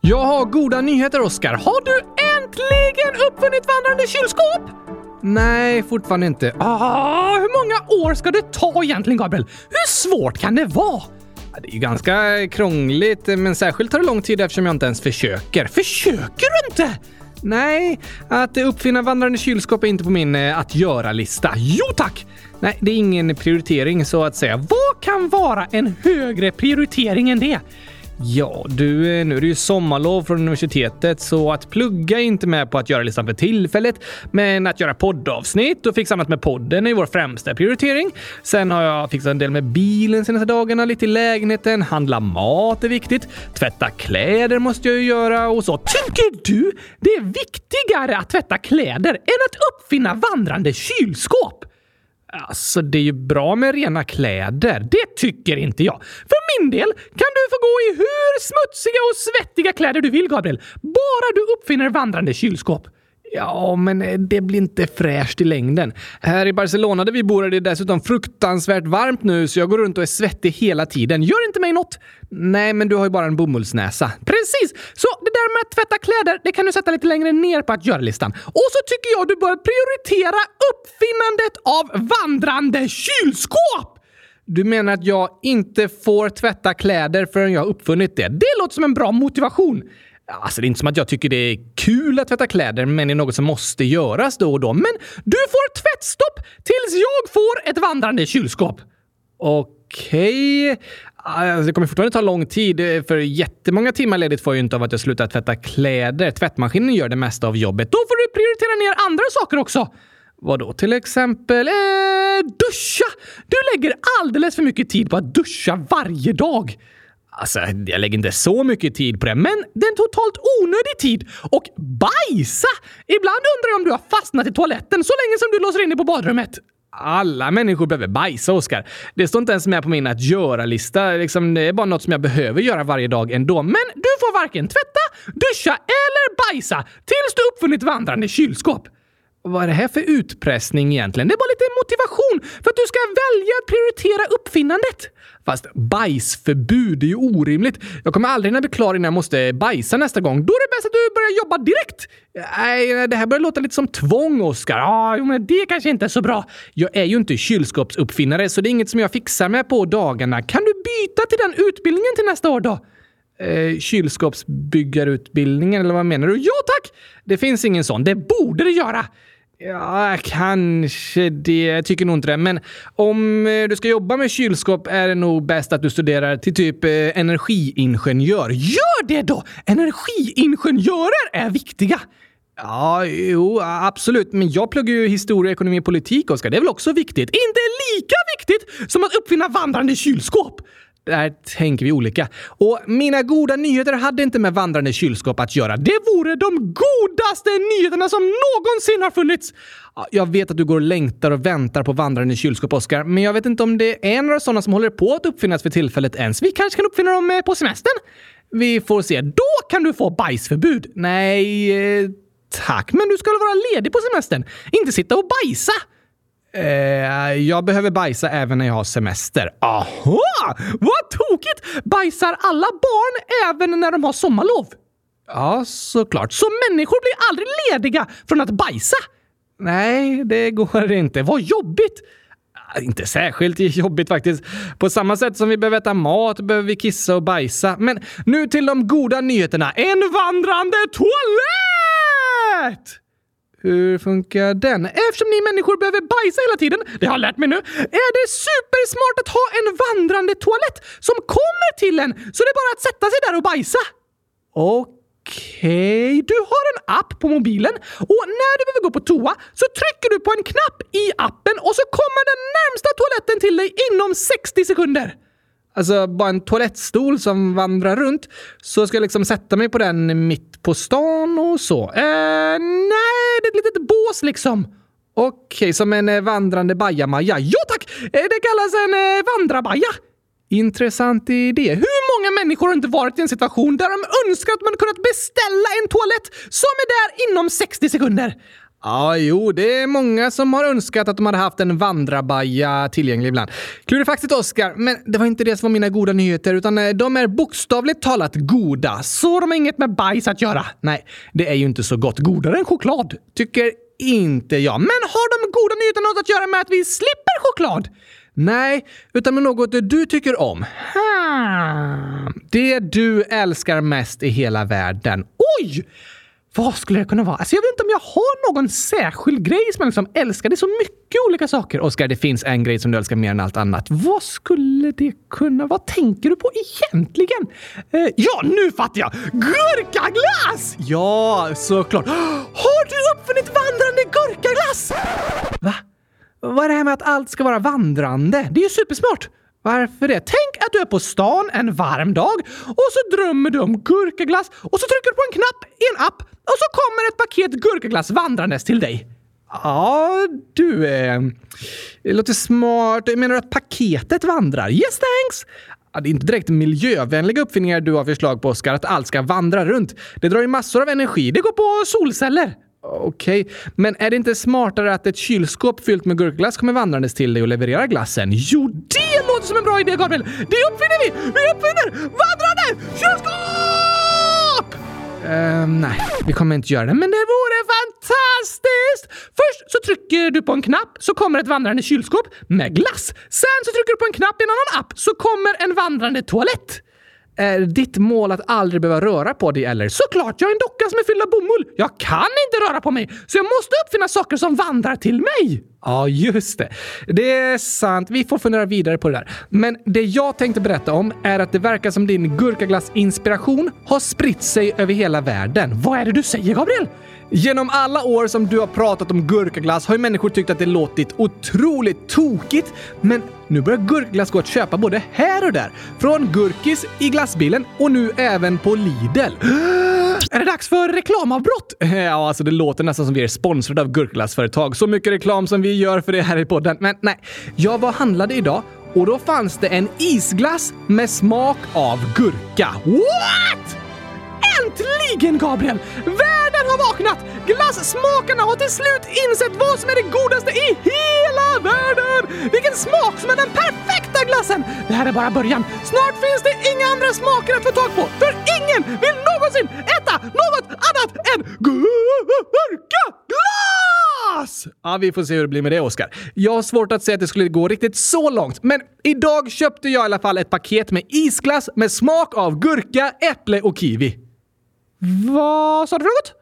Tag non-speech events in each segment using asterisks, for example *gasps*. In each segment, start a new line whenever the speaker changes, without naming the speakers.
Jag har goda nyheter, Oskar. Har du äntligen uppfunnit vandrande kylskåp? Nej, fortfarande inte. Ah, hur många år ska det ta egentligen, Gabriel? Hur svårt kan det vara? Ja, Det är ju ganska krångligt, men särskilt tar det lång tid eftersom jag inte ens försöker. Försöker du inte? Nej, att uppfinna vandrande kylskåp är inte på min eh, att göra-lista. Jo tack! Nej, det är ingen prioritering så att säga. Vad kan vara en högre prioritering än det? Ja, du, eh, nu är det ju sommarlov från universitetet så att plugga är inte med på att göra-listan för tillfället. Men att göra poddavsnitt och fixa annat med podden är vår främsta prioritering. Sen har jag fixat en del med bilen senaste dagarna, lite i lägenheten, handla mat är viktigt, tvätta kläder måste jag ju göra och så. Tycker du det är viktigare att tvätta kläder än att uppfinna vandrande kylskåp? Alltså, det är ju bra med rena kläder. Det tycker inte jag. För min del kan du få gå i hur smutsiga och svettiga kläder du vill, Gabriel. Bara du uppfinner vandrande kylskåp. Ja, men eh, det blir inte fräscht i längden. Här i Barcelona där vi bor är det dessutom fruktansvärt varmt nu så jag går runt och är svettig hela tiden. Gör inte mig något! Nej, men du har ju bara en bomullsnäsa. Precis! Så det där med att tvätta kläder, det kan du sätta lite längre ner på att göra-listan. Och så tycker jag du bör prioritera uppfinnandet av vandrande kylskåp! Du menar att jag inte får tvätta kläder förrän jag har uppfunnit det? Det låter som en bra motivation. Alltså, det är inte som att jag tycker det är kul att tvätta kläder, men det är något som måste göras då och då. Men du får tvättstopp tills jag får ett vandrande kylskåp. Okej. Alltså, det kommer fortfarande ta lång tid, eh, för jättemånga timmar ledigt får jag ju inte av att jag slutar tvätta kläder. Tvättmaskinen gör det mesta av jobbet. Då får du prioritera ner andra saker också. Vad då till exempel? Eh, duscha! Du lägger alldeles för mycket tid på att duscha varje dag. Alltså, jag lägger inte så mycket tid på det, men det är en totalt onödig tid. Och bajsa! Ibland undrar jag om du har fastnat i toaletten så länge som du låser in dig på badrummet. Alla människor behöver bajsa, Oskar. Det står inte ens med på min att göra-lista. Liksom, det är bara något som jag behöver göra varje dag ändå. Men du får varken tvätta, duscha eller bajsa tills du uppfunnit vandrande kylskåp. Vad är det här för utpressning egentligen? Det är bara lite motivation för att du ska välja att prioritera uppfinnandet. Fast bajsförbud är ju orimligt. Jag kommer aldrig hinna bli klar innan jag måste bajsa nästa gång. Då är det bäst att du börjar jobba direkt. Nej, det här börjar låta lite som tvång, Oskar. Ja, jo, men det kanske inte är så bra. Jag är ju inte kylskåpsuppfinnare, så det är inget som jag fixar med på dagarna. Kan du byta till den utbildningen till nästa år då? eh, kylskåpsbyggarutbildningen, eller vad menar du? Ja tack! Det finns ingen sån. Det borde det göra! Ja, kanske det. Jag tycker nog inte det. Men om eh, du ska jobba med kylskåp är det nog bäst att du studerar till typ eh, energiingenjör. Gör det då! Energiingenjörer är viktiga! Ja, jo, absolut. Men jag pluggar ju historia, ekonomi och politik, Oskar. Det är väl också viktigt? Inte lika viktigt som att uppfinna vandrande kylskåp! Där tänker vi olika. Och mina goda nyheter hade inte med vandrande kylskåp att göra. Det vore de godaste nyheterna som någonsin har funnits! Ja, Jag vet att du går och längtar och väntar på vandrande kylskåp, Oskar, men jag vet inte om det är några sådana som håller på att uppfinnas för tillfället ens. Vi kanske kan uppfinna dem eh, på semestern? Vi får se. Då kan du få bajsförbud. Nej, eh, tack. Men du ska väl vara ledig på semestern? Inte sitta och bajsa! Eh, jag behöver bajsa även när jag har semester. Aha! Vad tokigt! Bajsar alla barn även när de har sommarlov? Ja, såklart. Så människor blir aldrig lediga från att bajsa? Nej, det går inte. Vad jobbigt! Ah, Inte särskilt jobbigt faktiskt. På samma sätt som vi behöver äta mat behöver vi kissa och bajsa. Men nu till de goda nyheterna. En vandrande toalett! Hur funkar den? Eftersom ni människor behöver bajsa hela tiden, det har jag lärt mig nu, är det supersmart att ha en vandrande toalett som kommer till en så det är bara att sätta sig där och bajsa. Okej, du har en app på mobilen och när du behöver gå på toa så trycker du på en knapp i appen och så kommer den närmsta toaletten till dig inom 60 sekunder. Alltså bara en toalettstol som vandrar runt. Så ska jag liksom sätta mig på den mitt på stan och så. Eh, nej, det är ett litet bås liksom. Okej, som en eh, vandrande bajamaja. Ja tack! Eh, det kallas en eh, vandrabaja. Intressant idé. Hur många människor har inte varit i en situation där de önskar att man kunnat beställa en toalett som är där inom 60 sekunder? Ja, jo, det är många som har önskat att de hade haft en vandrarbaja tillgänglig ibland. Klurifaxigt, Oscar, men det var inte det som var mina goda nyheter, utan eh, de är bokstavligt talat goda. Så de har inget med bajs att göra. Nej, det är ju inte så gott. Godare än choklad, tycker inte jag. Men har de goda nyheterna något att göra med att vi slipper choklad? Nej, utan med något du tycker om. Hmm. Det du älskar mest i hela världen. Oj! Vad skulle det kunna vara? Alltså jag vet inte om jag har någon särskild grej som jag liksom älskar. Det är så mycket olika saker. Oskar, det finns en grej som du älskar mer än allt annat. Vad skulle det kunna vara? Vad tänker du på egentligen? Eh, ja, nu fattar jag! Gurkaglass! Ja, såklart. *gasps* Har du uppfunnit vandrande gurkaglass? Va? Vad är det här med att allt ska vara vandrande? Det är ju supersmart! Varför det? Tänk att du är på stan en varm dag och så drömmer du om gurkaglass och så trycker du på en knapp i en app och så kommer ett paket gurkaglass vandrandes till dig. Ja, du... Eh, det låter smart. Menar du att paketet vandrar? Yes, thanks! Ja, det är inte direkt miljövänliga uppfinningar du har förslag på, Oskar, att allt ska vandra runt. Det drar ju massor av energi. Det går på solceller. Okej, men är det inte smartare att ett kylskåp fyllt med gurkglass kommer vandrandes till dig och levererar glassen? Jo, det låter som en bra idé, Gabriel! Det uppfinner vi! Vi uppfinner vandrande kylskåp! Ehm, nej, vi kommer inte göra det, men det vore fantastiskt! Först så trycker du på en knapp så kommer ett vandrande kylskåp med glass. Sen så trycker du på en knapp i en annan app så kommer en vandrande toalett. Är ditt mål att aldrig behöva röra på dig eller? Såklart, jag är en docka som är fylld av bomull. Jag kan inte röra på mig, så jag måste uppfinna saker som vandrar till mig. Ja, just det. Det är sant. Vi får fundera vidare på det där. Men det jag tänkte berätta om är att det verkar som din gurkaglassinspiration har spritt sig över hela världen. Vad är det du säger, Gabriel? Genom alla år som du har pratat om gurkaglass har ju människor tyckt att det låtit otroligt tokigt. Men nu börjar gurkaglass gå att köpa både här och där. Från Gurkis i glassbilen och nu även på Lidl. Är det dags för reklamavbrott? *laughs* Ja, alltså det låter nästan som vi är sponsrade av gurkglassföretag. Så mycket reklam som vi gör för det här i podden. Men nej, jag var och handlade idag och då fanns det en isglass med smak av gurka. What? Äntligen Gabriel! Världen har vaknat! Glassmakarna har till slut insett vad som är det godaste i hela världen! Vilken smak som är den perfekta glassen! Det här är bara början. Snart finns det inga andra smaker att få tag på, för ingen vill någonsin äta något annat än gurkaglass! Ja, vi får se hur det blir med det, Oskar. Jag har svårt att säga att det skulle gå riktigt så långt, men idag köpte jag i alla fall ett paket med isglass med smak av gurka, äpple och kiwi. Vad sa du för något?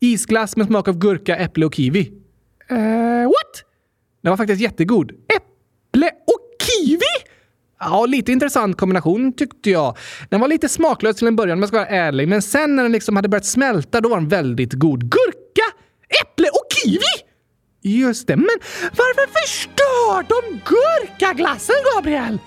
Isglass med smak av gurka, äpple och kiwi. Eh, what? Den var faktiskt jättegod. Äpple och kiwi? Ja, lite intressant kombination tyckte jag. Den var lite smaklös till en början om jag ska vara ärlig, men sen när den liksom hade börjat smälta då var den väldigt god. Gurka, äpple och kiwi! Just det, men varför förstör de gurkaglassen, Gabriel?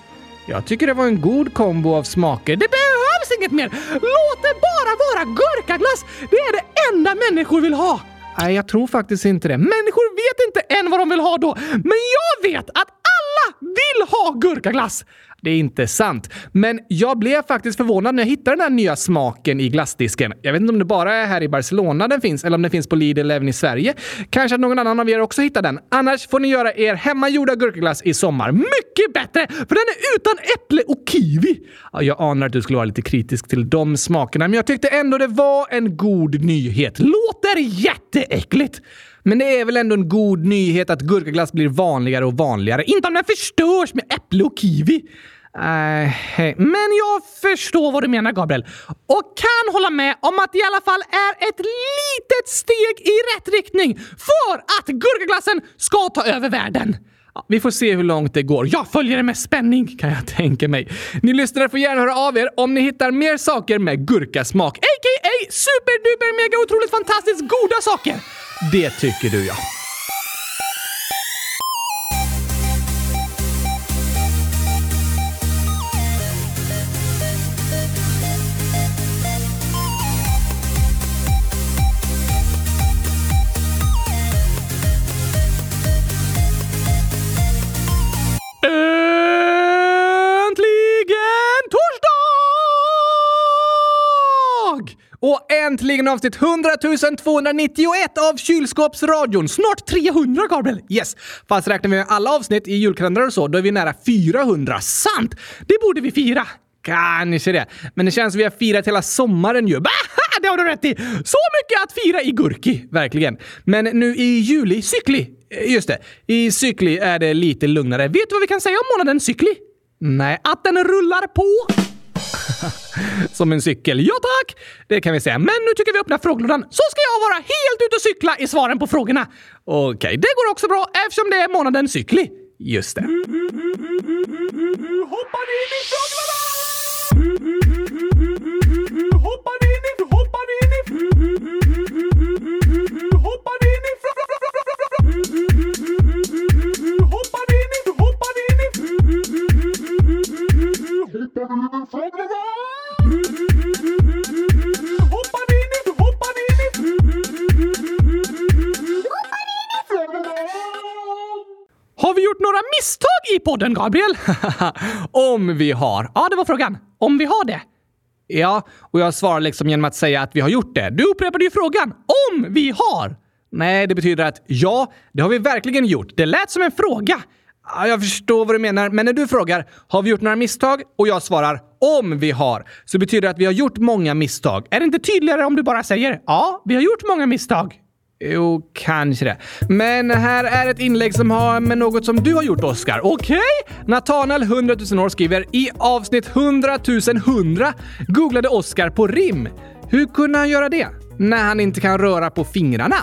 Jag tycker det var en god kombo av smaker. Det behövs inget mer! Låt det bara vara gurkaglass! Det är det enda människor vill ha! Nej, jag tror faktiskt inte det. Människor vet inte än vad de vill ha då. Men jag vet att alla vill ha gurkaglass! Det är inte sant. Men jag blev faktiskt förvånad när jag hittade den här nya smaken i glassdisken. Jag vet inte om det bara är här i Barcelona den finns eller om den finns på Lidl även i Sverige. Kanske att någon annan av er också hittar den. Annars får ni göra er hemmagjorda gurkaglass i sommar. Mycket bättre! För den är utan äpple och kiwi. Ja, jag anar att du skulle vara lite kritisk till de smakerna, men jag tyckte ändå det var en god nyhet. Låter jätteäckligt! Men det är väl ändå en god nyhet att gurkaglass blir vanligare och vanligare. Inte om den förstörs med äpple och kiwi. Nej, hej. men jag förstår vad du menar Gabriel och kan hålla med om att det i alla fall är ett litet steg i rätt riktning för att gurkaglassen ska ta över världen. Ja, Vi får se hur långt det går. Jag följer det med spänning kan jag tänka mig. Ni lyssnare får gärna höra av er om ni hittar mer saker med gurkasmak, a.k.a. superduper mega otroligt fantastiskt goda saker. Det tycker du ja. Äntligen torsdag! idag! Och äntligen avsnitt 100 291 av Kylskåpsradion! Snart 300, Gabriel! Yes! Fast räknar vi med alla avsnitt i julkalendrar och så, då är vi nära 400. Sant! Det borde vi fira! Kanske det. Men det känns som vi har firat hela sommaren ju. Bah! Det har du rätt i! Så mycket att fira i Gurki, verkligen. Men nu i juli, cykli. Eh, Just det, i cykli är det lite lugnare. Vet du vad vi kan säga om månaden cykli? Nej, att den rullar på. Som en cykel. Ja tack! Det kan vi säga. Men nu tycker vi öppna frågelådan så ska jag vara helt ute och cykla i svaren på frågorna. Okej, det går också bra eftersom det är månaden cykli. Just det. Hoppar in i frågelådan! Hoppar in i... Hoppar in i... Hoppar in i... Hoppar in i... Hoppar in i... Hoppar in i... Hoppar Har vi gjort några misstag i podden, Gabriel? *laughs* Om vi har. Ja, det var frågan. Om vi har det. Ja, och jag svarar liksom genom att säga att vi har gjort det. Du upprepade ju frågan. Om vi har! Nej, det betyder att ja, det har vi verkligen gjort. Det lät som en fråga. Ja, jag förstår vad du menar, men när du frågar har vi gjort några misstag och jag svarar om vi har, så betyder det att vi har gjort många misstag. Är det inte tydligare om du bara säger ja, vi har gjort många misstag? Jo, kanske det. Men här är ett inlägg som har med något som du har gjort, Oscar. Okej? Natanael 100 000 år skriver i avsnitt 100 100 googlade Oscar på rim. Hur kunde han göra det? När han inte kan röra på fingrarna?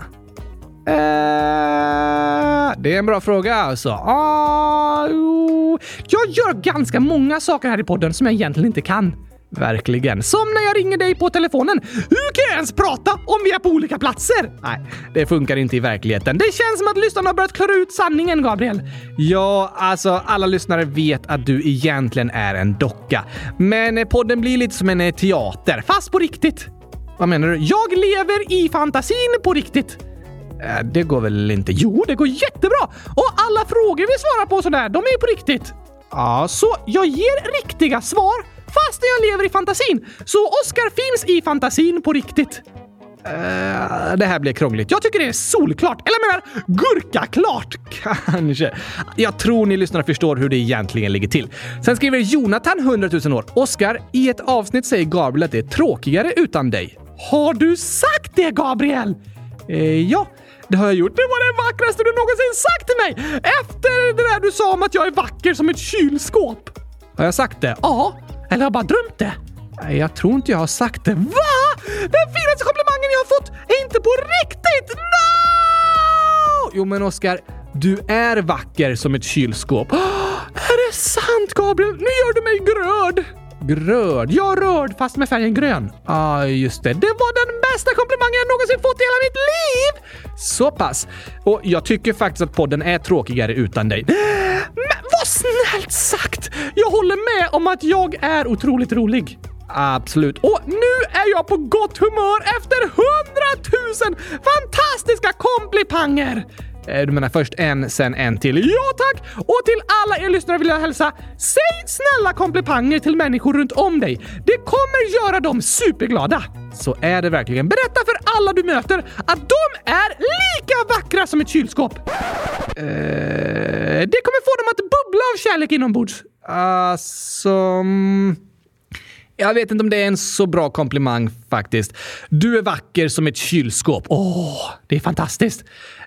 Eh, det är en bra fråga alltså. Ah, jo. Jag gör ganska många saker här i podden som jag egentligen inte kan. Verkligen. Som när jag ringer dig på telefonen. Hur kan jag ens prata om vi är på olika platser? Nej, det funkar inte i verkligheten. Det känns som att lyssnarna har börjat klara ut sanningen, Gabriel. Ja, alltså alla lyssnare vet att du egentligen är en docka. Men eh, podden blir lite som en eh, teater, fast på riktigt. Vad menar du? Jag lever i fantasin på riktigt. Eh, Det går väl inte? Jo, det går jättebra! Och alla frågor vi svarar på sådär, de är ju på riktigt. Ja, så jag ger riktiga svar fast jag lever i fantasin. Så Oscar finns i fantasin på riktigt. Eh, det här blir krångligt. Jag tycker det är solklart. Eller jag menar, gurkaklart! *laughs* Kanske. Jag tror ni lyssnare förstår hur det egentligen ligger till. Sen skriver Jonathan 100 000 år. Oskar, i ett avsnitt säger Gabriel att det är tråkigare utan dig. Har du sagt det, Gabriel? Eh, ja, det har jag gjort. Det var det vackraste du någonsin sagt till mig! Efter det där du sa om att jag är vacker som ett kylskåp. Har jag sagt det? Ja. Eller har jag bara drömt det? Nej, jag tror inte jag har sagt det. Va? Den finaste komplimangen jag har fått är inte på riktigt! No! Jo, men Oskar, du är vacker som ett kylskåp. *gasps* Är det sant, Gabriel? Nu gör du mig gröd! Gröd. Jag rörd fast med färgen grön. Ja, ah, just det. Det var den bästa komplimangen jag någonsin fått i hela mitt liv! Så pass. Och jag tycker faktiskt att podden är tråkigare utan dig. *gasps* Men vad snällt sagt! Jag håller med om att jag är otroligt rolig. Absolut. Och nu är jag på gott humör efter hundratusen fantastiska komplipanger! Eh, Du menar först en, sen en till. Ja tack! Och till alla er lyssnare vill jag hälsa, säg snälla komplimanger till människor runt om dig. Det kommer göra dem superglada. Så är det verkligen. Berätta för alla du möter att de är lika vackra som ett kylskåp. Eh, det kommer få dem att bubbla av kärlek inombords. Alltså... mm, jag vet inte om det är en så bra komplimang faktiskt. Du är vacker som ett kylskåp. Åh, det är fantastiskt.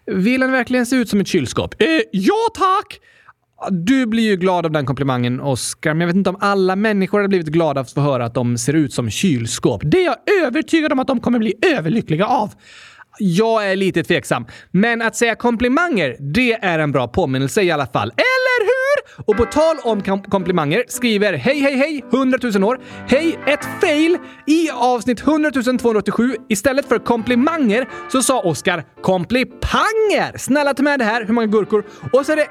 Vill han verkligen se ut som ett kylskåp? Eh, ja tack! Du blir ju glad av den komplimangen, Oscar, men jag vet inte om alla människor hade blivit glada av att få höra att de ser ut som kylskåp. Det är jag övertygad om att de kommer bli överlyckliga av. Jag är lite tveksam, men att säga komplimanger, det är en bra påminnelse i alla fall. Eller hur? hur? Och på tal om kom- komplimanger skriver Hej hej hej 100 000 år. Hej ett fail i avsnitt 100 287. Istället för komplimanger så sa Oskar komplipanger. Snälla ta med det här, hur många gurkor? Och så är det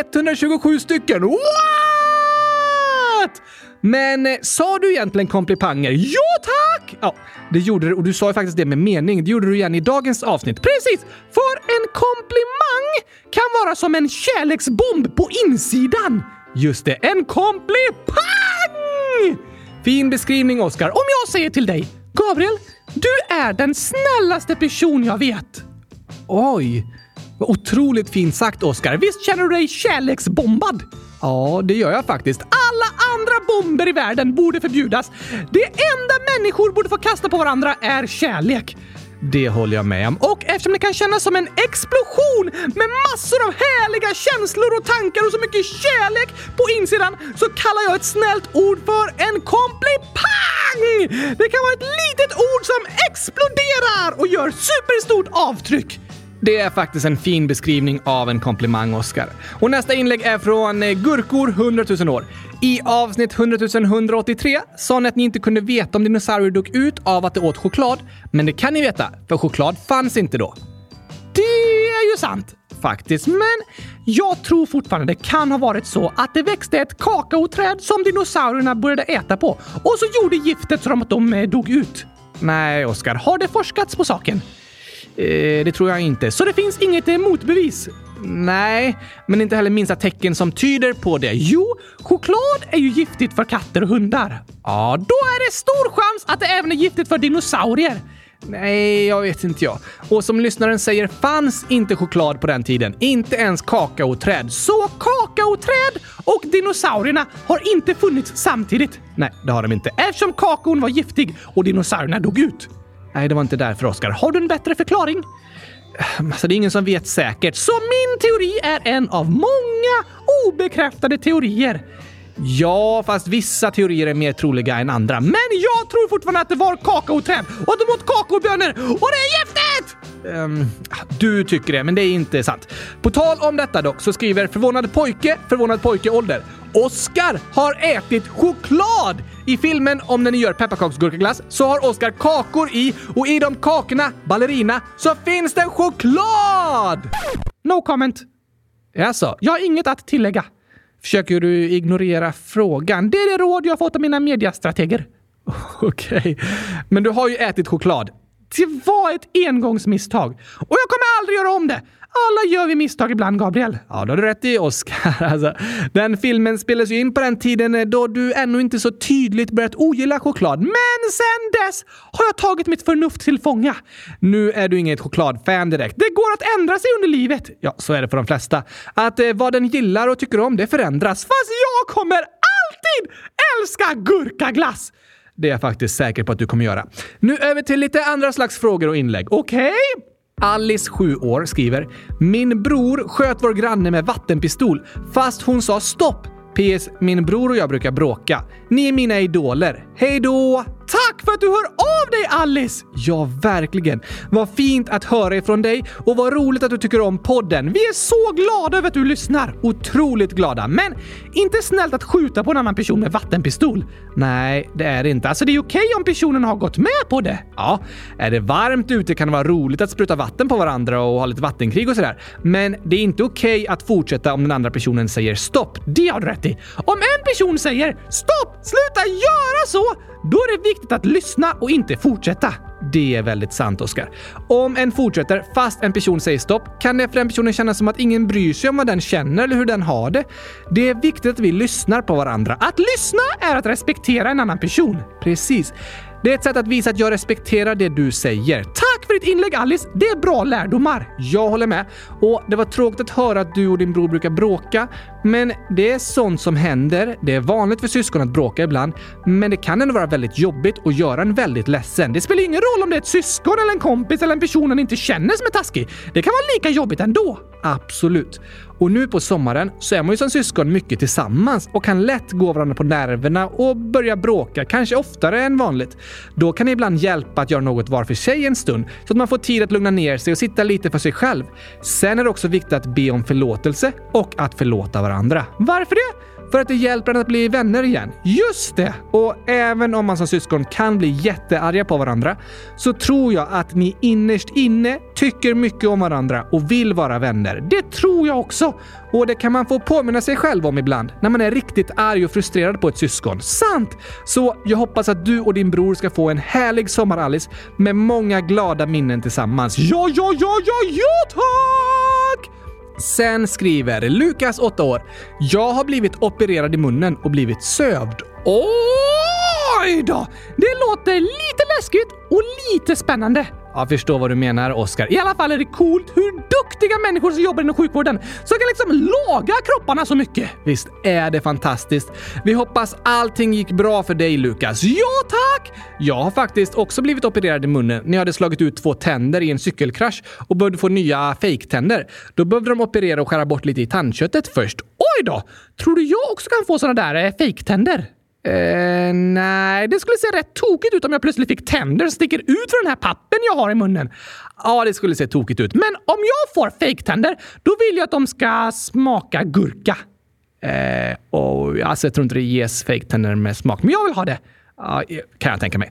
1127 stycken. What? Men eh, sa du egentligen komplipanger? Ja tack! Ja, det gjorde du och du sa ju faktiskt det med mening. Det gjorde du igen i dagens avsnitt. Precis! För en komplimang kan vara som en kärleksbomb på insidan. Just det, en komplipang! Fin beskrivning, Oscar. Om jag säger till dig, Gabriel, du är den snällaste person jag vet! Oj! Vad otroligt fint sagt, Oscar. Visst känner du dig kärleksbombad? Ja, det gör jag faktiskt. Alla andra bomber i världen borde förbjudas. Det enda människor borde få kasta på varandra är kärlek. Det håller jag med om. Och eftersom det kan kännas som en explosion med massor av härliga känslor och tankar och så mycket kärlek på insidan så kallar jag ett snällt ord för en komplipang! Det kan vara ett litet ord som exploderar och gör superstort avtryck. Det är faktiskt en fin beskrivning av en komplimang, Oscar. Och nästa inlägg är från eh, Gurkor 100 000 år. I avsnitt 100 183 sa ni att ni inte kunde veta om dinosaurier dog ut av att de åt choklad, men det kan ni veta, för choklad fanns inte då. Det är ju sant faktiskt, men jag tror fortfarande det kan ha varit så att det växte ett kakaoträd som dinosaurierna började äta på och så gjorde giftet så de- att de eh, dog ut. Nej, Oskar, har det forskats på saken? Eh, det tror jag inte. Så det finns inget eh, motbevis? Nej, men inte heller minsta tecken som tyder på det. Jo, choklad är ju giftigt för katter och hundar. Ja, då är det stor chans att det även är giftigt för dinosaurier. Nej, jag vet inte jag. Och som lyssnaren säger fanns inte choklad på den tiden. Inte ens kakaoträd. Så kakaoträd och dinosaurierna har inte funnits samtidigt. Nej, det har de inte. Eftersom kakaon var giftig och dinosaurierna dog ut. Nej, det var inte därför, Oskar. Har du en bättre förklaring? Alltså, det är ingen som vet säkert, så min teori är en av många obekräftade teorier. Ja, fast vissa teorier är mer troliga än andra. Men jag tror fortfarande att det var kakaoträd och att de åt kakaobönor och det är giftigt! Ehm, du tycker det, men det är inte sant. På tal om detta dock så skriver förvånad pojke, förvånad pojke ålder. Oscar har ätit choklad! I filmen om när ni gör pepparkaksgurkaglass så har Oscar kakor i och i de kakorna, ballerina, så finns det choklad! No comment. Jaså, jag har inget att tillägga. Försöker du ignorera frågan? Det är det råd jag har fått av mina mediestrateger. *laughs* Okej, men du har ju ätit choklad. Det var ett engångsmisstag. Och jag kommer aldrig göra om det! Alla gör vi misstag ibland, Gabriel. Ja, det har du rätt i, Oscar. *laughs* Alltså, den filmen spelades ju in på den tiden då du ännu inte så tydligt börjat ogilla choklad. Men sen dess har jag tagit mitt förnuft till fånga. Nu är du inget chokladfan direkt. Det går att ändra sig under livet. Ja, så är det för de flesta. Att eh, vad den gillar och tycker om, det förändras. Fast jag kommer alltid älska gurkaglass! Det är jag faktiskt säker på att du kommer göra. Nu över till lite andra slags frågor och inlägg. Okej? Alice, 7 år, skriver “Min bror sköt vår granne med vattenpistol fast hon sa stopp. PS. Min bror och jag brukar bråka. Ni är mina idoler. Hej då!” Tack för att du hör av dig Alice! Ja, verkligen. Vad fint att höra ifrån dig och vad roligt att du tycker om podden. Vi är så glada över att du lyssnar. Otroligt glada. Men inte snällt att skjuta på en annan person med vattenpistol. Nej, det är det inte. Alltså det är okej om personen har gått med på det. Ja, är det varmt ute kan det vara roligt att spruta vatten på varandra och ha lite vattenkrig och sådär. Men det är inte okej att fortsätta om den andra personen säger stopp. Det har du rätt i. Om en person säger stopp, sluta göra så! Då är det viktigt att lyssna och inte fortsätta. Det är väldigt sant, Oskar. Om en fortsätter fast en person säger stopp kan det för den personen kännas som att ingen bryr sig om vad den känner eller hur den har det. Det är viktigt att vi lyssnar på varandra. Att lyssna är att respektera en annan person. Precis. Det är ett sätt att visa att jag respekterar det du säger. Tack för ditt inlägg Alice! Det är bra lärdomar. Jag håller med. Och det var tråkigt att höra att du och din bror brukar bråka, men det är sånt som händer. Det är vanligt för syskon att bråka ibland, men det kan ändå vara väldigt jobbigt och göra en väldigt ledsen. Det spelar ingen roll om det är ett syskon eller en kompis eller en person man inte känner som är taskig. Det kan vara lika jobbigt ändå. Absolut. Och nu på sommaren så är man ju som syskon mycket tillsammans och kan lätt gå varandra på nerverna och börja bråka, kanske oftare än vanligt. Då kan det ibland hjälpa att göra något var för sig en stund så att man får tid att lugna ner sig och sitta lite för sig själv. Sen är det också viktigt att be om förlåtelse och att förlåta varandra. Varför det? för att det hjälper en att bli vänner igen. Just det! Och även om man som syskon kan bli jättearga på varandra så tror jag att ni innerst inne tycker mycket om varandra och vill vara vänner. Det tror jag också! Och det kan man få påminna sig själv om ibland när man är riktigt arg och frustrerad på ett syskon. Sant! Så jag hoppas att du och din bror ska få en härlig sommar, Alice, med många glada minnen tillsammans. Ja, ja, ja, ja, ja, tack! Sen skriver Lukas, 8 år. Jag har blivit opererad i munnen och blivit sövd. Åh! Oj då! Det låter lite läskigt och lite spännande. Jag förstår vad du menar, Oskar. I alla fall är det coolt hur duktiga människor som jobbar inom sjukvården som kan liksom laga kropparna så mycket. Visst är det fantastiskt. Vi hoppas allting gick bra för dig, Lukas. Ja, tack! Jag har faktiskt också blivit opererad i munnen när jag hade slagit ut två tänder i en cykelkrasch och behövde få nya fejktänder. Då behövde de operera och skära bort lite i tandköttet först. Oj då! Tror du jag också kan få såna där eh, fejktänder? Eh, nej, det skulle se rätt tokigt ut om jag plötsligt fick tänder som sticker ut från den här pappen jag har i munnen. Ja, det skulle se tokigt ut. Men om jag får fejktänder, då vill jag att de ska smaka gurka. Eh, och, alltså, jag tror inte det ges fejktänder med smak, men jag vill ha det. Ja, eh, kan jag tänka mig.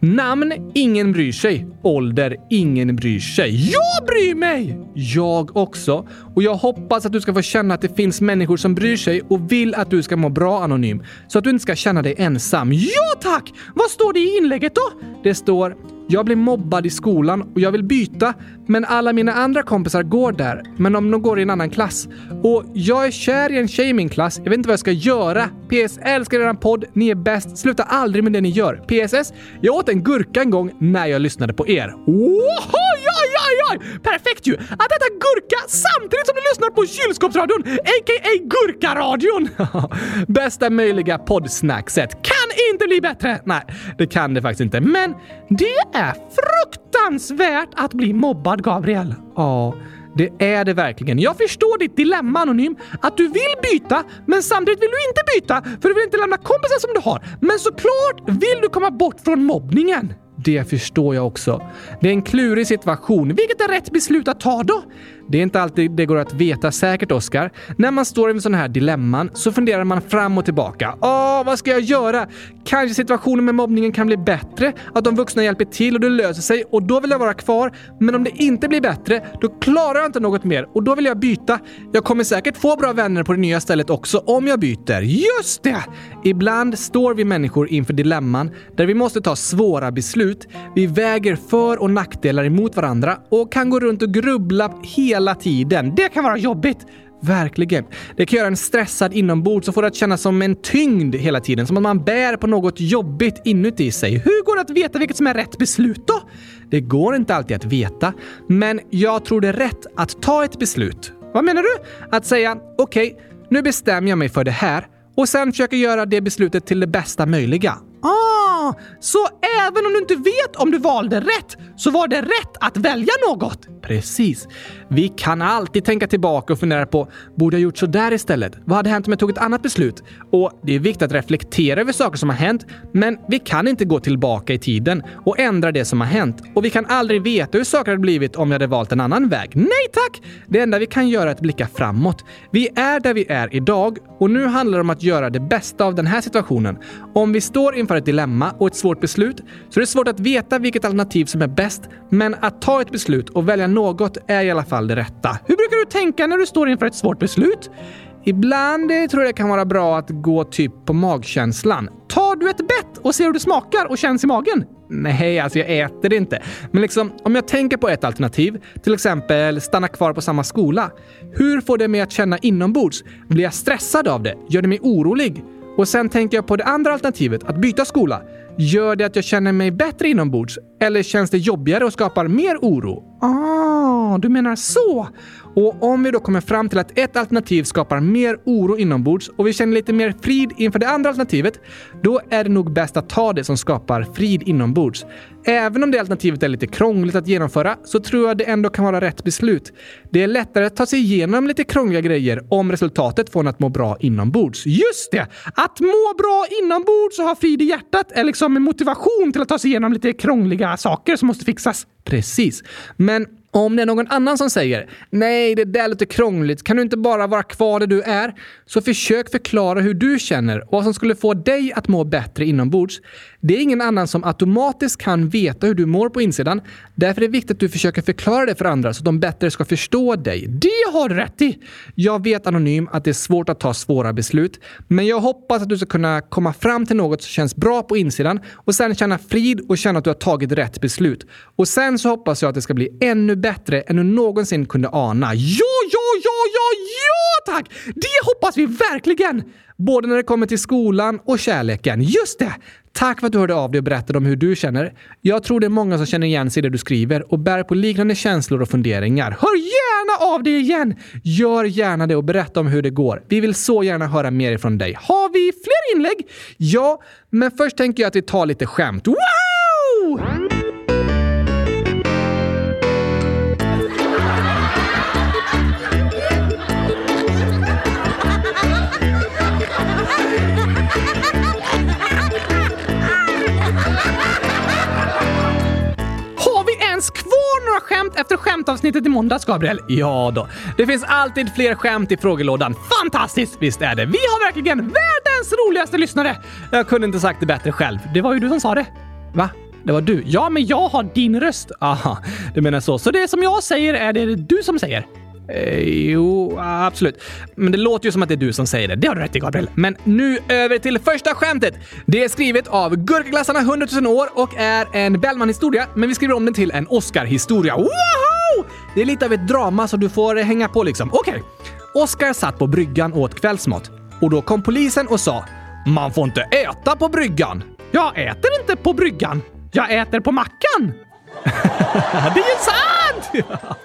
Namn, ingen bryr sig. Ålder, ingen bryr sig. Jag bryr mig! Jag också. Och jag hoppas att du ska få känna att det finns människor som bryr sig och vill att du ska må bra anonym. Så att du inte ska känna dig ensam. Ja tack! Vad står det i inlägget då? Det står jag blir mobbad i skolan och jag vill byta, men alla mina andra kompisar går där. Men om de går i en annan klass. Och jag är kär i en tjej i min klass. Jag vet inte vad jag ska göra. PS. Älskar eran podd. Ni är bäst. Sluta aldrig med det ni gör. PSS. Jag åt en gurka en gång när jag lyssnade på er. Ohoho! Oj, oj, oj! Perfekt ju! Att äta gurka samtidigt som du lyssnar på kylskåpsradion, a.k.a. Gurkaradion! *laughs* Bästa möjliga poddsnackset. Kan inte bli bättre! Nej, det kan det faktiskt inte. Men det är fruktansvärt att bli mobbad, Gabriel. Ja, det är det verkligen. Jag förstår ditt dilemma, Anonym. Att du vill byta, men samtidigt vill du inte byta för du vill inte lämna kompisar som du har. Men såklart vill du komma bort från mobbningen. Det förstår jag också. Det är en klurig situation. Vilket är rätt beslut att ta då? Det är inte alltid det går att veta säkert, Oscar. När man står inför sådana här dilemman så funderar man fram och tillbaka. Åh, vad ska jag göra? Kanske situationen med mobbningen kan bli bättre? Att de vuxna hjälper till och det löser sig och då vill jag vara kvar. Men om det inte blir bättre, då klarar jag inte något mer och då vill jag byta. Jag kommer säkert få bra vänner på det nya stället också om jag byter. Just det! Ibland står vi människor inför dilemman där vi måste ta svåra beslut. Vi väger för och nackdelar emot varandra och kan gå runt och grubbla hela tiden. Det kan vara jobbigt. Verkligen. Det kan göra en stressad inombords och få det att kännas som en tyngd hela tiden. Som att man bär på något jobbigt inuti sig. Hur går det att veta vilket som är rätt beslut då? Det går inte alltid att veta, men jag tror det är rätt att ta ett beslut. Vad menar du? Att säga okej, nu bestämmer jag mig för det här och sen försöka göra det beslutet till det bästa möjliga. Ah, så även om du inte vet om du valde rätt så var det rätt att välja något? Precis. Vi kan alltid tänka tillbaka och fundera på borde jag gjort så där istället? Vad hade hänt om jag tog ett annat beslut? Och det är viktigt att reflektera över saker som har hänt, men vi kan inte gå tillbaka i tiden och ändra det som har hänt. Och vi kan aldrig veta hur saker hade blivit om vi hade valt en annan väg. Nej tack! Det enda vi kan göra är att blicka framåt. Vi är där vi är idag och nu handlar det om att göra det bästa av den här situationen. Om vi står inför ett dilemma och ett svårt beslut så är det svårt att veta vilket alternativ som är bäst, men att ta ett beslut och välja något är i alla fall det rätta. Hur brukar du tänka när du står inför ett svårt beslut? Ibland eh, tror jag det kan vara bra att gå typ på magkänslan. Tar du ett bett och ser hur det smakar och känns i magen? Nej, alltså jag äter det inte. Men liksom, om jag tänker på ett alternativ, till exempel stanna kvar på samma skola. Hur får det mig att känna inombords? Blir jag stressad av det? Gör det mig orolig? Och sen tänker jag på det andra alternativet, att byta skola. Gör det att jag känner mig bättre inombords? Eller känns det jobbigare och skapar mer oro? Ah, du menar så! Och om vi då kommer fram till att ett alternativ skapar mer oro inombords och vi känner lite mer frid inför det andra alternativet, då är det nog bäst att ta det som skapar frid inombords. Även om det alternativet är lite krångligt att genomföra så tror jag det ändå kan vara rätt beslut. Det är lättare att ta sig igenom lite krångliga grejer om resultatet får en att må bra inombords. Just det! Att må bra inombords och ha frid i hjärtat är liksom en motivation till att ta sig igenom lite krångliga saker som måste fixas. Precis. Men om det är någon annan som säger “Nej, det där låter krångligt, kan du inte bara vara kvar där du är?” så försök förklara hur du känner och vad som skulle få dig att må bättre inombords. Det är ingen annan som automatiskt kan veta hur du mår på insidan. Därför är det viktigt att du försöker förklara det för andra så att de bättre ska förstå dig. Det har du rätt i! Jag vet anonym att det är svårt att ta svåra beslut, men jag hoppas att du ska kunna komma fram till något som känns bra på insidan och sen känna frid och känna att du har tagit rätt beslut. Och sen så hoppas jag att det ska bli ännu bättre än du någonsin kunde ana. Ja, ja, ja, ja, ja! tack! Det hoppas vi verkligen! Både när det kommer till skolan och kärleken. Just det! Tack för att du hörde av dig och berättade om hur du känner. Jag tror det är många som känner igen sig i det du skriver och bär på liknande känslor och funderingar. Hör gärna av dig igen! Gör gärna det och berätta om hur det går. Vi vill så gärna höra mer ifrån dig. Har vi fler inlägg? Ja, men först tänker jag att vi tar lite skämt. Wow! Har vi ens kvar några skämt efter skämtavsnittet i måndags, Gabriel? Ja då. Det finns alltid fler skämt i frågelådan. Fantastiskt! Visst är det. Vi har verkligen världens roligaste lyssnare! Jag kunde inte sagt det bättre själv. Det var ju du som sa det. Va? Det var du? Ja, men jag har din röst. Aha, du menar så. Så det som jag säger är det du som säger? Eh, jo, absolut. Men det låter ju som att det är du som säger det. Det har du rätt i, Gabriel. Men nu över till första skämtet. Det är skrivet av Gurkaglassarna 100 000 år och är en Bellman-historia, men vi skriver om den till en Oscar-historia. Woho! Det är lite av ett drama så du får eh, hänga på liksom. Okej. Oscar satt på bryggan och åt kvällsmat. Och då kom polisen och sa “Man får inte äta på bryggan!” “Jag äter inte på bryggan. Jag äter på mackan!” Det är ju sant! *laughs*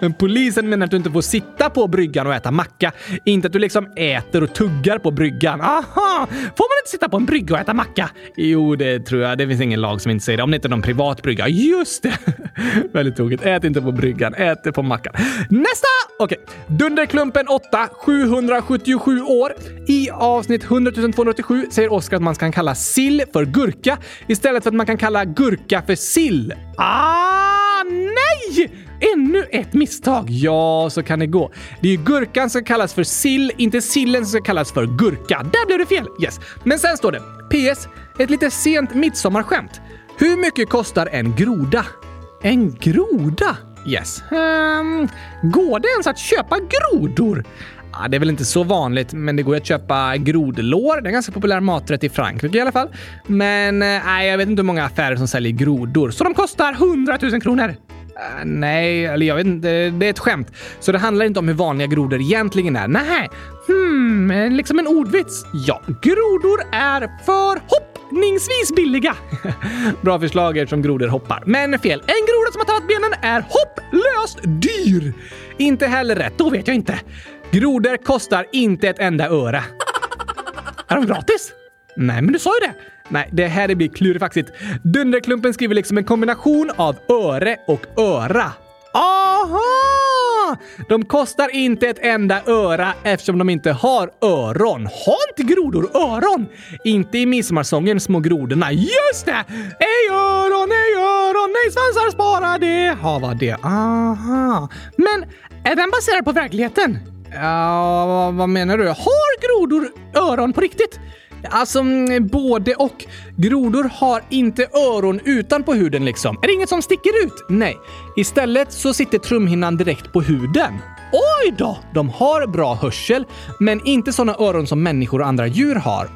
Men polisen menar att du inte får sitta på bryggan och äta macka. Inte att du liksom äter och tuggar på bryggan. Aha! Får man inte sitta på en brygga och äta macka? Jo, det tror jag. Det finns ingen lag som inte säger det. Om det inte är någon privat brygga. Just det! *laughs* Väldigt tokigt. Ät inte på bryggan. Ät det på mackan. Nästa! Okej. Dunderklumpen 8, 777 år. I avsnitt 100 287 säger Oskar att man kan kalla sill för gurka istället för att man kan kalla gurka för sill. Ah, nej! Ännu ett misstag! Ja, så kan det gå. Det är ju gurkan som kallas för sill, inte sillen som kallas för gurka. Där blev det fel! Yes. Men sen står det PS. Ett lite sent midsommarskämt. Hur mycket kostar en groda? En groda? Yes. Ehm, går det ens att köpa grodor? Ja, det är väl inte så vanligt, men det går ju att köpa grodlår. Det är en ganska populär maträtt i Frankrike i alla fall. Men eh, nej, jag vet inte hur många affärer som säljer grodor, så de kostar 100 000 kronor. Äh, nej, eller jag vet inte. Det är ett skämt. Så det handlar inte om hur vanliga grodor egentligen är. Nej. Hmm, eh, liksom en ordvits. Ja, grodor är förhoppningsvis billiga. *laughs* Bra förslag eftersom grodor hoppar. Men fel. En groda som har tappat benen är hopplöst dyr. Inte heller rätt. Då vet jag inte. Grodor kostar inte ett enda öre. Är de gratis? Nej, men du sa ju det! Nej, det här blir klurifaxigt. Dunderklumpen skriver liksom en kombination av öre och öra. Aha! De kostar inte ett enda öra eftersom de inte har öron. Har inte grodor öron? Inte i midsommarsången, små grodorna. Just det! Ej öron, ej öron, ej svansar spara det. Hava det. Aha. Men är den baserad på verkligheten? Ja, vad, vad menar du? Har grodor öron på riktigt? Alltså, mm, både och. Grodor har inte öron utanpå huden liksom. Är det inget som sticker ut? Nej. Istället så sitter trumhinnan direkt på huden. Oj då! De har bra hörsel, men inte såna öron som människor och andra djur har.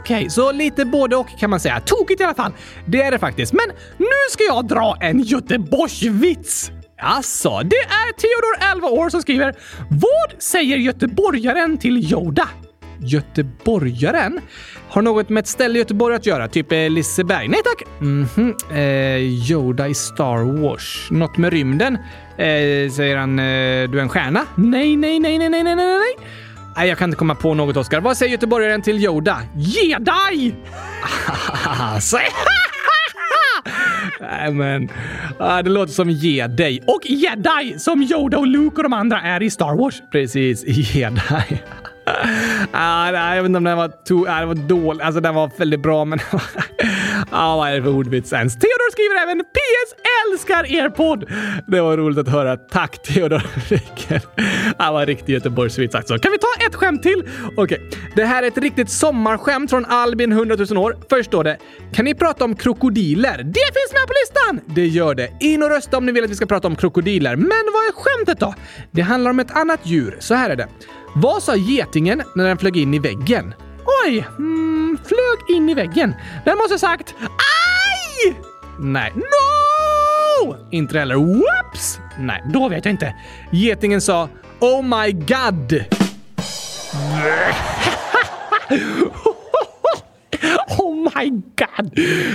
Okej, så lite både och kan man säga. Tokigt i alla fall. Det är det faktiskt. Men nu ska jag dra en Göteborgsvits! Alltså, det är Theodor, 11 år, som skriver “Vad säger göteborgaren till Yoda?” Göteborgaren? Har något med ett ställe i Göteborg att göra? Typ eh, Liseberg? Nej tack! Mhm. Eh, Yoda i Star Wars. Något med rymden? Eh, säger han, eh, du är en stjärna? Nej, nej, nej, nej, nej, nej, nej, nej. Nej, jag kan inte komma på något, Oskar. Vad säger göteborgaren till Yoda? Jedi! *laughs* Alltså. Nej men, ah, det låter som Jedi. Och Jedi som Yoda och Luke och de andra är i Star Wars. Precis, *laughs* Jedi. Ah, nej, jag vet inte om den var, to- ah, den var dålig. Alltså den var väldigt bra men... *laughs* ah, vad är det för ordvits ens? Theodor skriver även PS älskar er podd. Det var roligt att höra. Tack Theodor. Vilken... *laughs* Ah, vad riktig Göteborgsvits alltså. Kan vi ta ett skämt till? Okej, det här är ett riktigt sommarskämt från Albin 100 000 år. Först står det “Kan ni prata om krokodiler?” Det finns med på listan! Det gör det. In och rösta om ni vill att vi ska prata om krokodiler. Men vad är skämtet då? Det handlar om ett annat djur. Så här är det. Vad sa getingen när den flög in i väggen? Oj, mm, flög in i väggen. Den måste ha sagt aj! Nej, no! Inte det heller whoops! Nej, då vet jag inte. Getingen sa Oh my god! *laughs* Oh my god!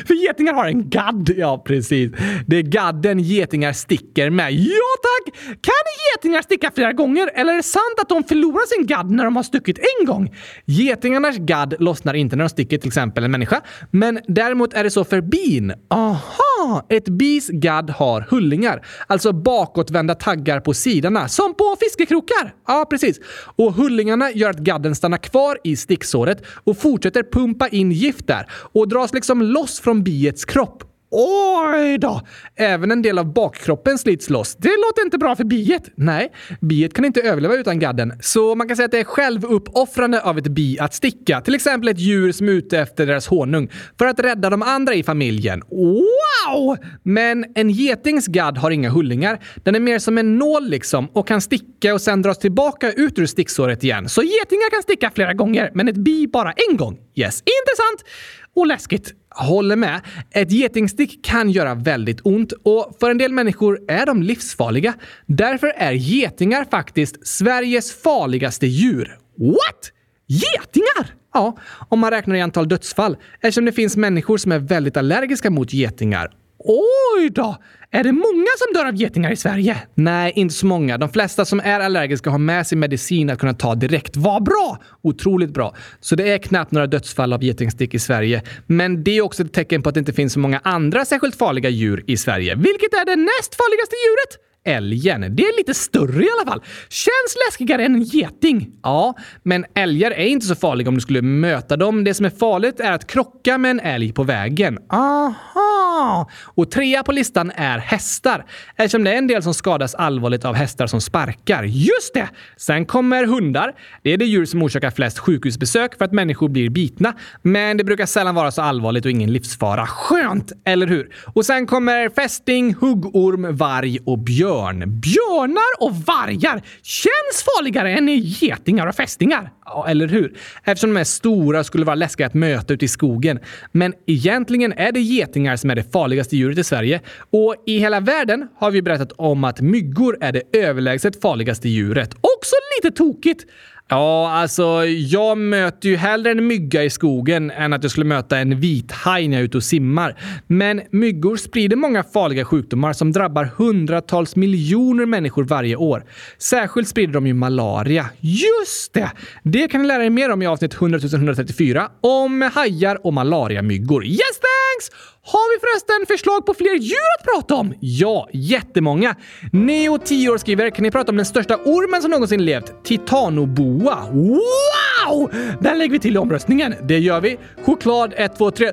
För getingar har en gadd. Ja, precis. Det är gadden getingar sticker med. Ja tack! Kan getingar sticka flera gånger eller är det sant att de förlorar sin gadd när de har stuckit en gång? Getingarnas gadd lossnar inte när de sticker till exempel en människa, men däremot är det så för bin. Aha! Ett bis gadd har hullingar, alltså bakåtvända taggar på sidorna, som på fiskekrokar. Ja, precis. Och hullingarna gör att gadden stannar kvar i sticksåret och fortsätter pumpa in gift där och dras liksom loss från biets kropp. Oj då! Även en del av bakkroppen slits loss. Det låter inte bra för biet. Nej, biet kan inte överleva utan gadden. Så man kan säga att det är självuppoffrande av ett bi att sticka. Till exempel ett djur som är ute efter deras honung för att rädda de andra i familjen. Wow! Men en getings gadd har inga hullingar. Den är mer som en nål liksom och kan sticka och sen dras tillbaka ut ur sticksåret igen. Så getingar kan sticka flera gånger, men ett bi bara en gång. Yes, intressant! och läskigt. Håller med. Ett getingstick kan göra väldigt ont och för en del människor är de livsfarliga. Därför är getingar faktiskt Sveriges farligaste djur. What? Getingar? Ja, om man räknar i antal dödsfall eftersom det finns människor som är väldigt allergiska mot getingar. Oj då! Är det många som dör av getingar i Sverige? Nej, inte så många. De flesta som är allergiska har med sig medicin att kunna ta direkt. Vad bra! Otroligt bra. Så det är knappt några dödsfall av getingstick i Sverige. Men det är också ett tecken på att det inte finns så många andra särskilt farliga djur i Sverige. Vilket är det näst farligaste djuret? Älgen. Det är lite större i alla fall. Känns läskigare än en geting. Ja, men älgar är inte så farliga om du skulle möta dem. Det som är farligt är att krocka med en älg på vägen. Aha! Och trea på listan är hästar. Eftersom det är en del som skadas allvarligt av hästar som sparkar. Just det! Sen kommer hundar. Det är det djur som orsakar flest sjukhusbesök för att människor blir bitna. Men det brukar sällan vara så allvarligt och ingen livsfara. Skönt, eller hur? Och sen kommer fästing, huggorm, varg och björn. Björnar och vargar känns farligare än getingar och fästingar. Ja, eller hur? Eftersom de är stora och skulle vara läskiga att möta ute i skogen. Men egentligen är det getingar som är det farligaste djuret i Sverige. Och i hela världen har vi berättat om att myggor är det överlägset farligaste djuret. Också lite tokigt. Ja, alltså jag möter ju hellre en mygga i skogen än att jag skulle möta en vithaj när jag är ute och simmar. Men myggor sprider många farliga sjukdomar som drabbar hundratals miljoner människor varje år. Särskilt sprider de ju malaria. Just det! Det kan ni lära er mer om i avsnitt 100 134 om hajar och malariamyggor. Yes thanks! Har vi förresten förslag på fler djur att prata om? Ja, jättemånga. Neo 10 år skriver, kan ni prata om den största ormen som någonsin levt? Titanoboa. Wow! Den lägger vi till i omröstningen. Det gör vi. Choklad 1, 2, *gasps* 3,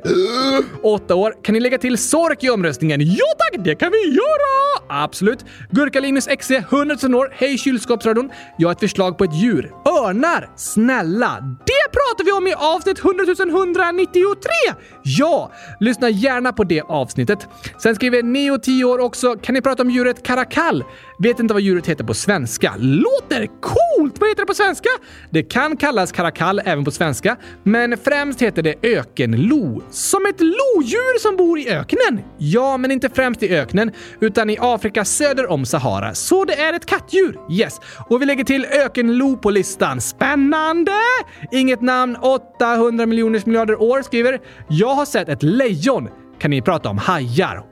8 år. Kan ni lägga till sork i omröstningen? Ja tack, det kan vi göra! Absolut. Gurkalinus XC 100 000 år. Hej kylskåpsradion. Jag har ett förslag på ett djur. Örnar. Snälla. Det pratar vi om i avsnitt 100 193. Ja, lyssna gärna gärna på det avsnittet. Sen skriver Neo 10 år också, kan ni prata om djuret karakall? Vet inte vad djuret heter på svenska. Låter coolt! Vad heter det på svenska? Det kan kallas karakall även på svenska, men främst heter det ökenlo. Som ett lodjur som bor i öknen! Ja, men inte främst i öknen, utan i Afrika söder om Sahara. Så det är ett kattdjur! Yes! Och vi lägger till ökenlo på listan. Spännande! Inget namn, 800 miljoners miljarder år skriver “Jag har sett ett lejon kan ni prata om hajar.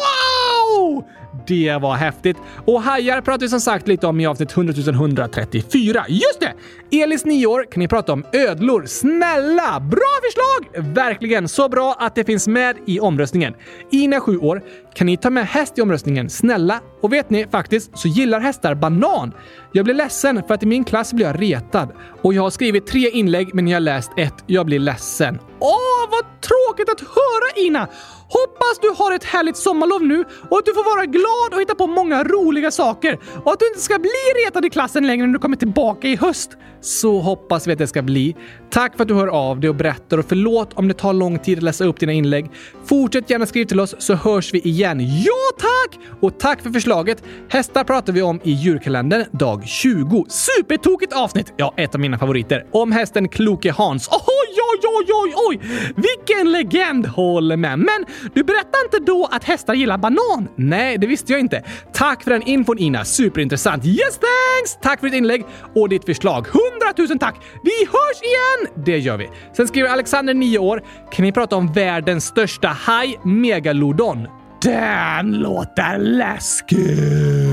Wow! Det var häftigt! Och hajar pratar vi som sagt lite om i avsnitt 100 134. Just det! Elis 9 år kan ni prata om ödlor. Snälla! Bra förslag! Verkligen så bra att det finns med i omröstningen. Ina 7 år kan ni ta med häst i omröstningen. Snälla! Och vet ni, faktiskt så gillar hästar banan. Jag blir ledsen för att i min klass blir jag retad. Och jag har skrivit tre inlägg men jag har läst ett. Jag blir ledsen. Åh, vad tråkigt att höra Ina! Hoppas du har ett härligt sommarlov nu och att du får vara glad och hitta på många roliga saker och att du inte ska bli retad i klassen längre när du kommer tillbaka i höst. Så hoppas vi att det ska bli. Tack för att du hör av dig och berättar och förlåt om det tar lång tid att läsa upp dina inlägg. Fortsätt gärna skriva till oss så hörs vi igen. Ja, tack! Och tack för förslaget. Hästar pratar vi om i djurkalendern dag 20. Supertokigt avsnitt! Ja, ett av mina favoriter. Om hästen Kloke Hans. Åh, ja, oj, oj, oj! Vilken legend, håller med. Men du berättade inte då att hästar gillar banan? Nej, det visste jag inte. Tack för den infon, Ina. Superintressant. Yes, thanks! Tack för ditt inlägg och ditt förslag. Hundratusen tack! Vi hörs igen! Det gör vi. Sen skriver Alexander, 9 år. Kan ni prata om världens största haj, megalodon? Den låter läskig!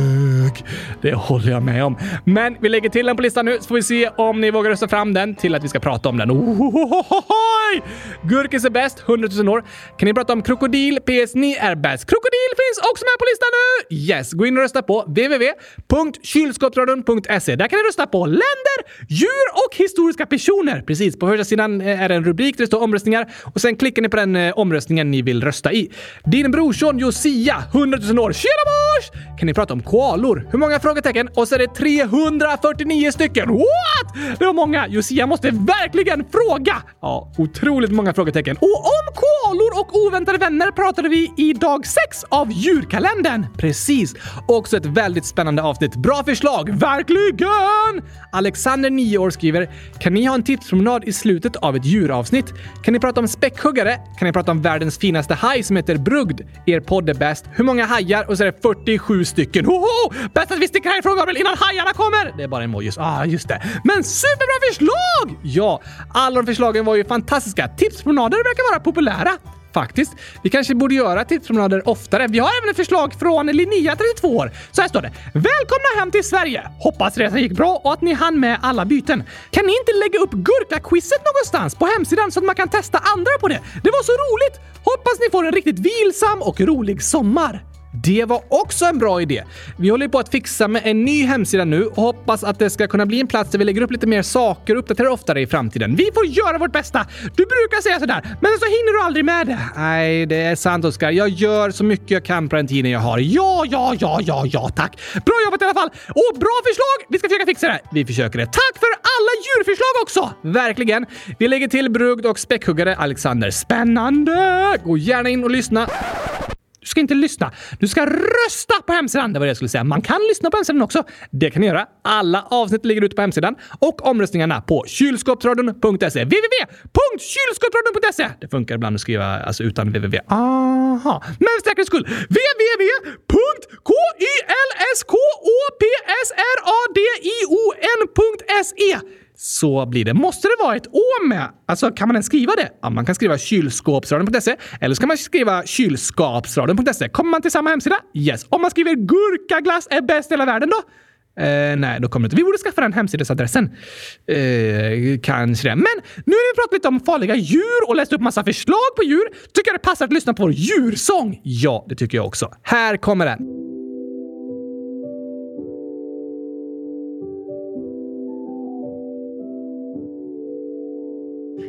Det håller jag med om. Men vi lägger till den på listan nu så får vi se om ni vågar rösta fram den till att vi ska prata om den. Ohohohoj! Gurkis är bäst, 100 000 år. Kan ni prata om krokodil? PS9 är bäst. Krokodil finns också med på listan nu! Yes, gå in och rösta på www.kylskåpsradion.se. Där kan ni rösta på länder, djur och historiska personer. Precis, på första sidan eh, är det en rubrik där det står omröstningar och sen klickar ni på den eh, omröstningen ni vill rösta i. Din brorson Josia, 100 000 år. Tjena mors! Kan ni prata om koalor? Hur många frågetecken? Och så är det 349 stycken. What? Det var många. Josia måste verkligen fråga. Ja, otroligt många frågetecken. Och om koalor och oväntade vänner pratade vi i dag 6 av djurkalendern. Precis. Också ett väldigt spännande avsnitt. Bra förslag, verkligen! Alexander, 9 år, skriver “Kan ni ha en tipspromenad i slutet av ett djuravsnitt? Kan ni prata om späckhuggare? Kan ni prata om världens finaste haj som heter brugd? Er podd är bäst. Hur många hajar? Och så är det 47 stycken. Hoho! Bäst att vi sticker härifrån Gabriel innan hajarna kommer! Det är bara emojis. Ah, just det. Men superbra förslag! Ja, alla de förslagen var ju fantastiska. Tipspromenader verkar vara populära. Faktiskt. Vi kanske borde göra tipspromenader oftare. Vi har även ett förslag från Linnea, 32 år. Så här står det. Välkomna hem till Sverige! Hoppas resan gick bra och att ni hann med alla byten. Kan ni inte lägga upp gurkaquizet någonstans på hemsidan så att man kan testa andra på det? Det var så roligt! Hoppas ni får en riktigt vilsam och rolig sommar. Det var också en bra idé. Vi håller på att fixa med en ny hemsida nu och hoppas att det ska kunna bli en plats där vi lägger upp lite mer saker och uppdaterar oftare i framtiden. Vi får göra vårt bästa! Du brukar säga sådär, men så hinner du aldrig med det. Nej, det är sant Oskar. Jag gör så mycket jag kan på den tiden jag har. Ja, ja, ja, ja, ja, tack. Bra jobbat i alla fall! Och bra förslag! Vi ska försöka fixa det. Vi försöker det. Tack för alla djurförslag också! Verkligen. Vi lägger till brugd och späckhuggare Alexander. Spännande! Gå gärna in och lyssna. Du ska inte lyssna. Du ska rösta på hemsidan. Det var det jag skulle säga. Man kan lyssna på hemsidan också. Det kan ni göra. Alla avsnitt ligger ute på hemsidan och omröstningarna på kylskåpsradion.se. www.kylskåpsradion.se. Det funkar ibland att skriva alltså, utan www. Aha. Men för säkerhets skull. www.kylskåpsradion.se så blir det. Måste det vara ett å med? Alltså, kan man ens skriva det? Ja, man kan skriva kylskåpsradion.se eller så kan man skriva kylskapsradion.se. Kommer man till samma hemsida? Yes. Om man skriver gurkaglass är bäst i hela världen då? Eh, nej, då kommer det inte. Vi borde skaffa den hemsidesadressen. Eh, kanske det. Men nu när vi pratat lite om farliga djur och läst upp massa förslag på djur tycker jag det passar att lyssna på vår djursång. Ja, det tycker jag också. Här kommer den.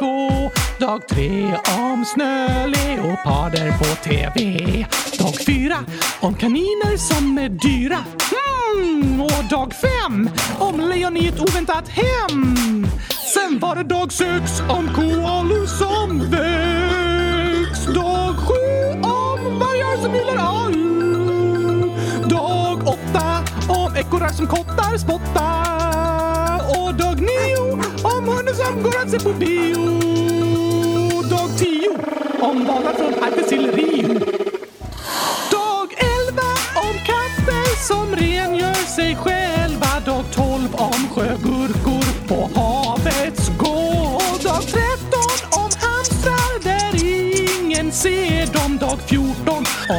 gå. Dag tre om snöleoparder på TV. Dag fyra om kaniner som är dyra. Mm, och dag fem om lejon i ett oväntat hem. Sen var det dag sex om koalor som väcks. Dag sju om vargar som gillar all. Dag åtta om ekorrar som kottar spottar. Och dag nio om hunden som går att se på bio. Dag tio om valar från Arktis till Rio. Dag 11 om katter som rengör sig själva. Dag 12 om sjögurkor på havets gård. Dag 13 om hamstrar där ingen ser dem. Dag 14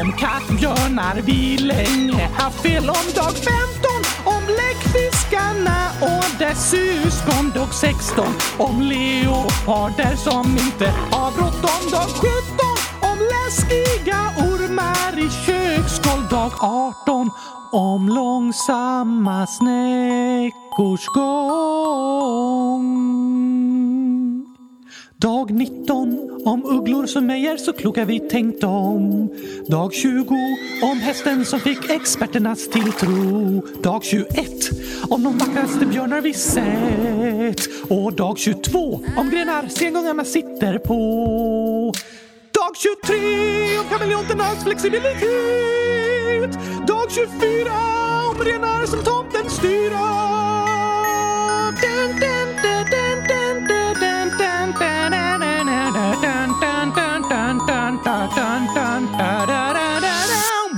om kattbjörnar vi länge haft fel om. Dag 15 om bläckfiskarna och dess syskon. Dag 16 om leoparder som inte har bråttom. Dag 17 om läskiga ormar i köksskål dag 18 om långsamma snäckors gång.
Dag 19 om ugglor som Meyer så kloka vi tänkt om. Dag 20 om hästen som fick experternas tilltro. Dag 21 om de vackraste björnar vi sett. Och dag 22 om grenar sengångarna sitter på. Dag 23 om kameleonternas flexibilitet. Dag 24 om renar som tomten styra. Dun, dun, dun, dun, dun, dun, dun, dun, dun, dun, dun, dun, dun, dun, dun, dun, dun, dun, dun, dun, dun, dun, dun, dun.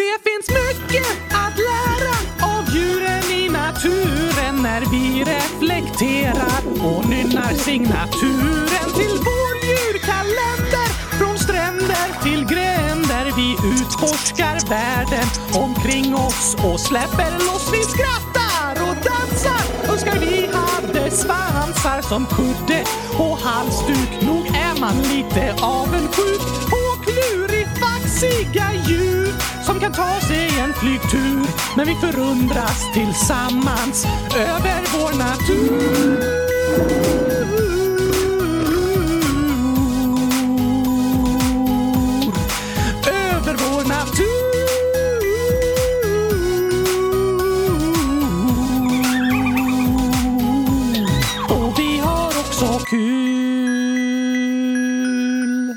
Det finns mycket att lära av djuren i naturen när vi reflekterar och nynnar signaturen till vår djurkalender. Från stränder till gränder vi utforskar världen omkring oss och släpper loss. Vi skrattar och dansar. Önskar vi hade svansar som kudde och halsduk. Nog är man lite avundsjuk på klurifaxiga djur som kan ta sig en flygtur. Men vi förundras tillsammans över vår natur. Över vår natur. Och vi har också kul.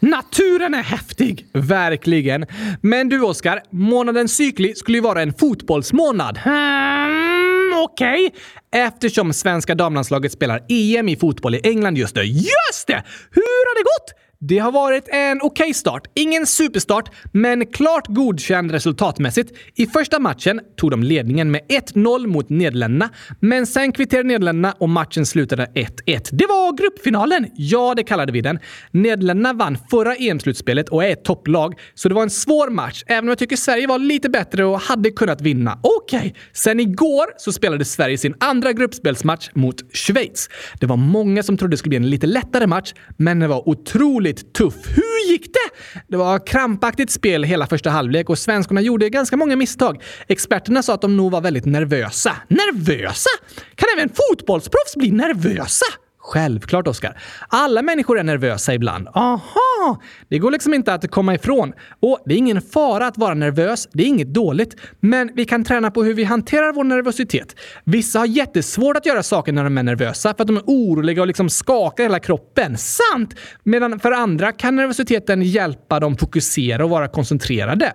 Naturen är häftig! Verkligen. Men du Oskar, månaden cykli skulle ju vara en fotbollsmånad. Hmm, Okej. Eftersom svenska damlandslaget spelar EM i fotboll i England just nu. Just det! Hur har det gått? Det har varit en okej start. Ingen superstart, men klart godkänd resultatmässigt. I första matchen tog de ledningen med 1-0 mot Nederländerna, men sen kvitterade Nederländerna och matchen slutade 1-1. Det var gruppfinalen! Ja, det kallade vi den. Nederländerna vann förra EM-slutspelet och är ett topplag, så det var en svår match, även om jag tycker Sverige var lite bättre och hade kunnat vinna. Okej! Sen igår så spelade Sverige sin andra gruppspelsmatch mot Schweiz. Det var många som trodde det skulle bli en lite lättare match, men den var otroligt tuff. Hur gick det? Det var krampaktigt spel hela första halvlek och svenskarna gjorde ganska många misstag. Experterna sa att de nog var väldigt nervösa. Nervösa? Kan även fotbollsproffs bli nervösa? Självklart, Oskar. Alla människor är nervösa ibland. Aha! Det går liksom inte att komma ifrån. Och det är ingen fara att vara nervös, det är inget dåligt. Men vi kan träna på hur vi hanterar vår nervositet. Vissa har jättesvårt att göra saker när de är nervösa för att de är oroliga och liksom skakar hela kroppen. Sant! Medan för andra kan nervositeten hjälpa dem fokusera och vara koncentrerade.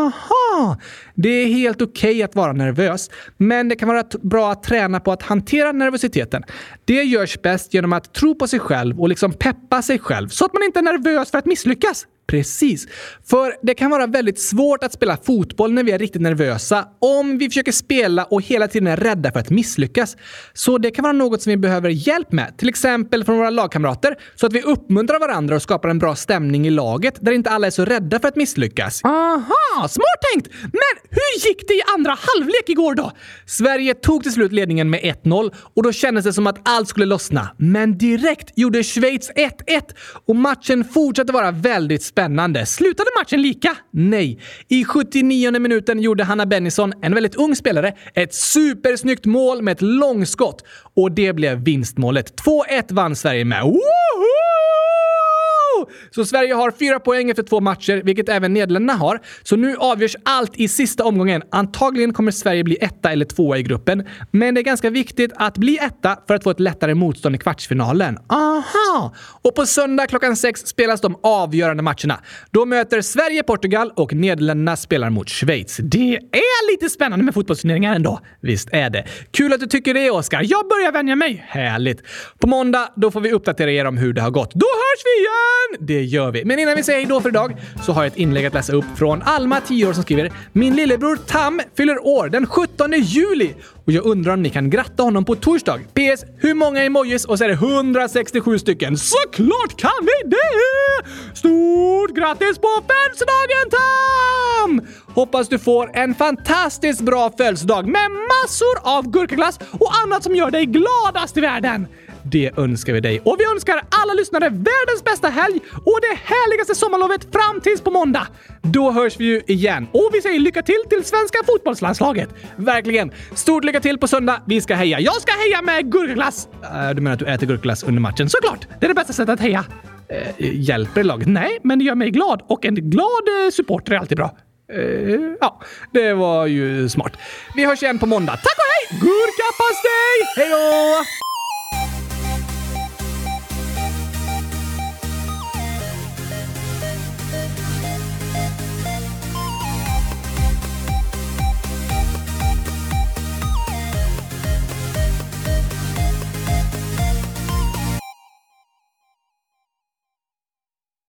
Aha! Det är helt okej att vara nervös, men det kan vara t- bra att träna på att hantera nervositeten. Det görs bäst genom att tro på sig själv och liksom peppa sig själv så att man inte är nervös för att misslyckas. Precis. För det kan vara väldigt svårt att spela fotboll när vi är riktigt nervösa om vi försöker spela och hela tiden är rädda för att misslyckas. Så det kan vara något som vi behöver hjälp med, till exempel från våra lagkamrater, så att vi uppmuntrar varandra och skapar en bra stämning i laget där inte alla är så rädda för att misslyckas. Aha, smart tänkt! Men hur gick det i andra halvlek igår då? Sverige tog till slut ledningen med 1-0 och då kändes det som att allt skulle lossna. Men direkt gjorde Schweiz 1-1 och matchen fortsatte vara väldigt spännande. Slutade matchen lika? Nej. I 79 minuten gjorde Hanna Bennison, en väldigt ung spelare, ett supersnyggt mål med ett långskott och det blev vinstmålet. 2-1 vann Sverige med. Woho! Så Sverige har fyra poäng efter två matcher, vilket även Nederländerna har. Så nu avgörs allt i sista omgången. Antagligen kommer Sverige bli etta eller tvåa i gruppen. Men det är ganska viktigt att bli etta för att få ett lättare motstånd i kvartsfinalen. Aha! Och på söndag klockan sex spelas de avgörande matcherna. Då möter Sverige Portugal och Nederländerna spelar mot Schweiz. Det är lite spännande med fotbollsturneringar ändå. Visst är det. Kul att du tycker det, Oskar. Jag börjar vänja mig. Härligt. På måndag, då får vi uppdatera er om hur det har gått. Då hörs vi igen! Det gör vi. Men innan vi säger hejdå för idag så har jag ett inlägg att läsa upp från Alma, 10 år, som skriver “Min lillebror Tam fyller år den 17 juli och jag undrar om ni kan gratta honom på torsdag. PS. Hur många emojis?” och så är det 167 stycken. Såklart kan vi det! Stort grattis på födelsedagen Tam! Hoppas du får en fantastiskt bra födelsedag med massor av gurkaglass och annat som gör dig gladast i världen! Det önskar vi dig. Och vi önskar alla lyssnare världens bästa helg och det härligaste sommarlovet fram tills på måndag. Då hörs vi ju igen. Och vi säger lycka till till svenska fotbollslandslaget. Verkligen. Stort lycka till på söndag. Vi ska heja. Jag ska heja med gurkaglass. Eh, du menar att du äter gurkaglass under matchen? Såklart! Det är det bästa sättet att heja. Eh, hjälper laget? Nej, men det gör mig glad. Och en glad eh, supporter är alltid bra. Eh, ja, det var ju smart. Vi hörs igen på måndag. Tack och hej! Gurkapastej! Hej då!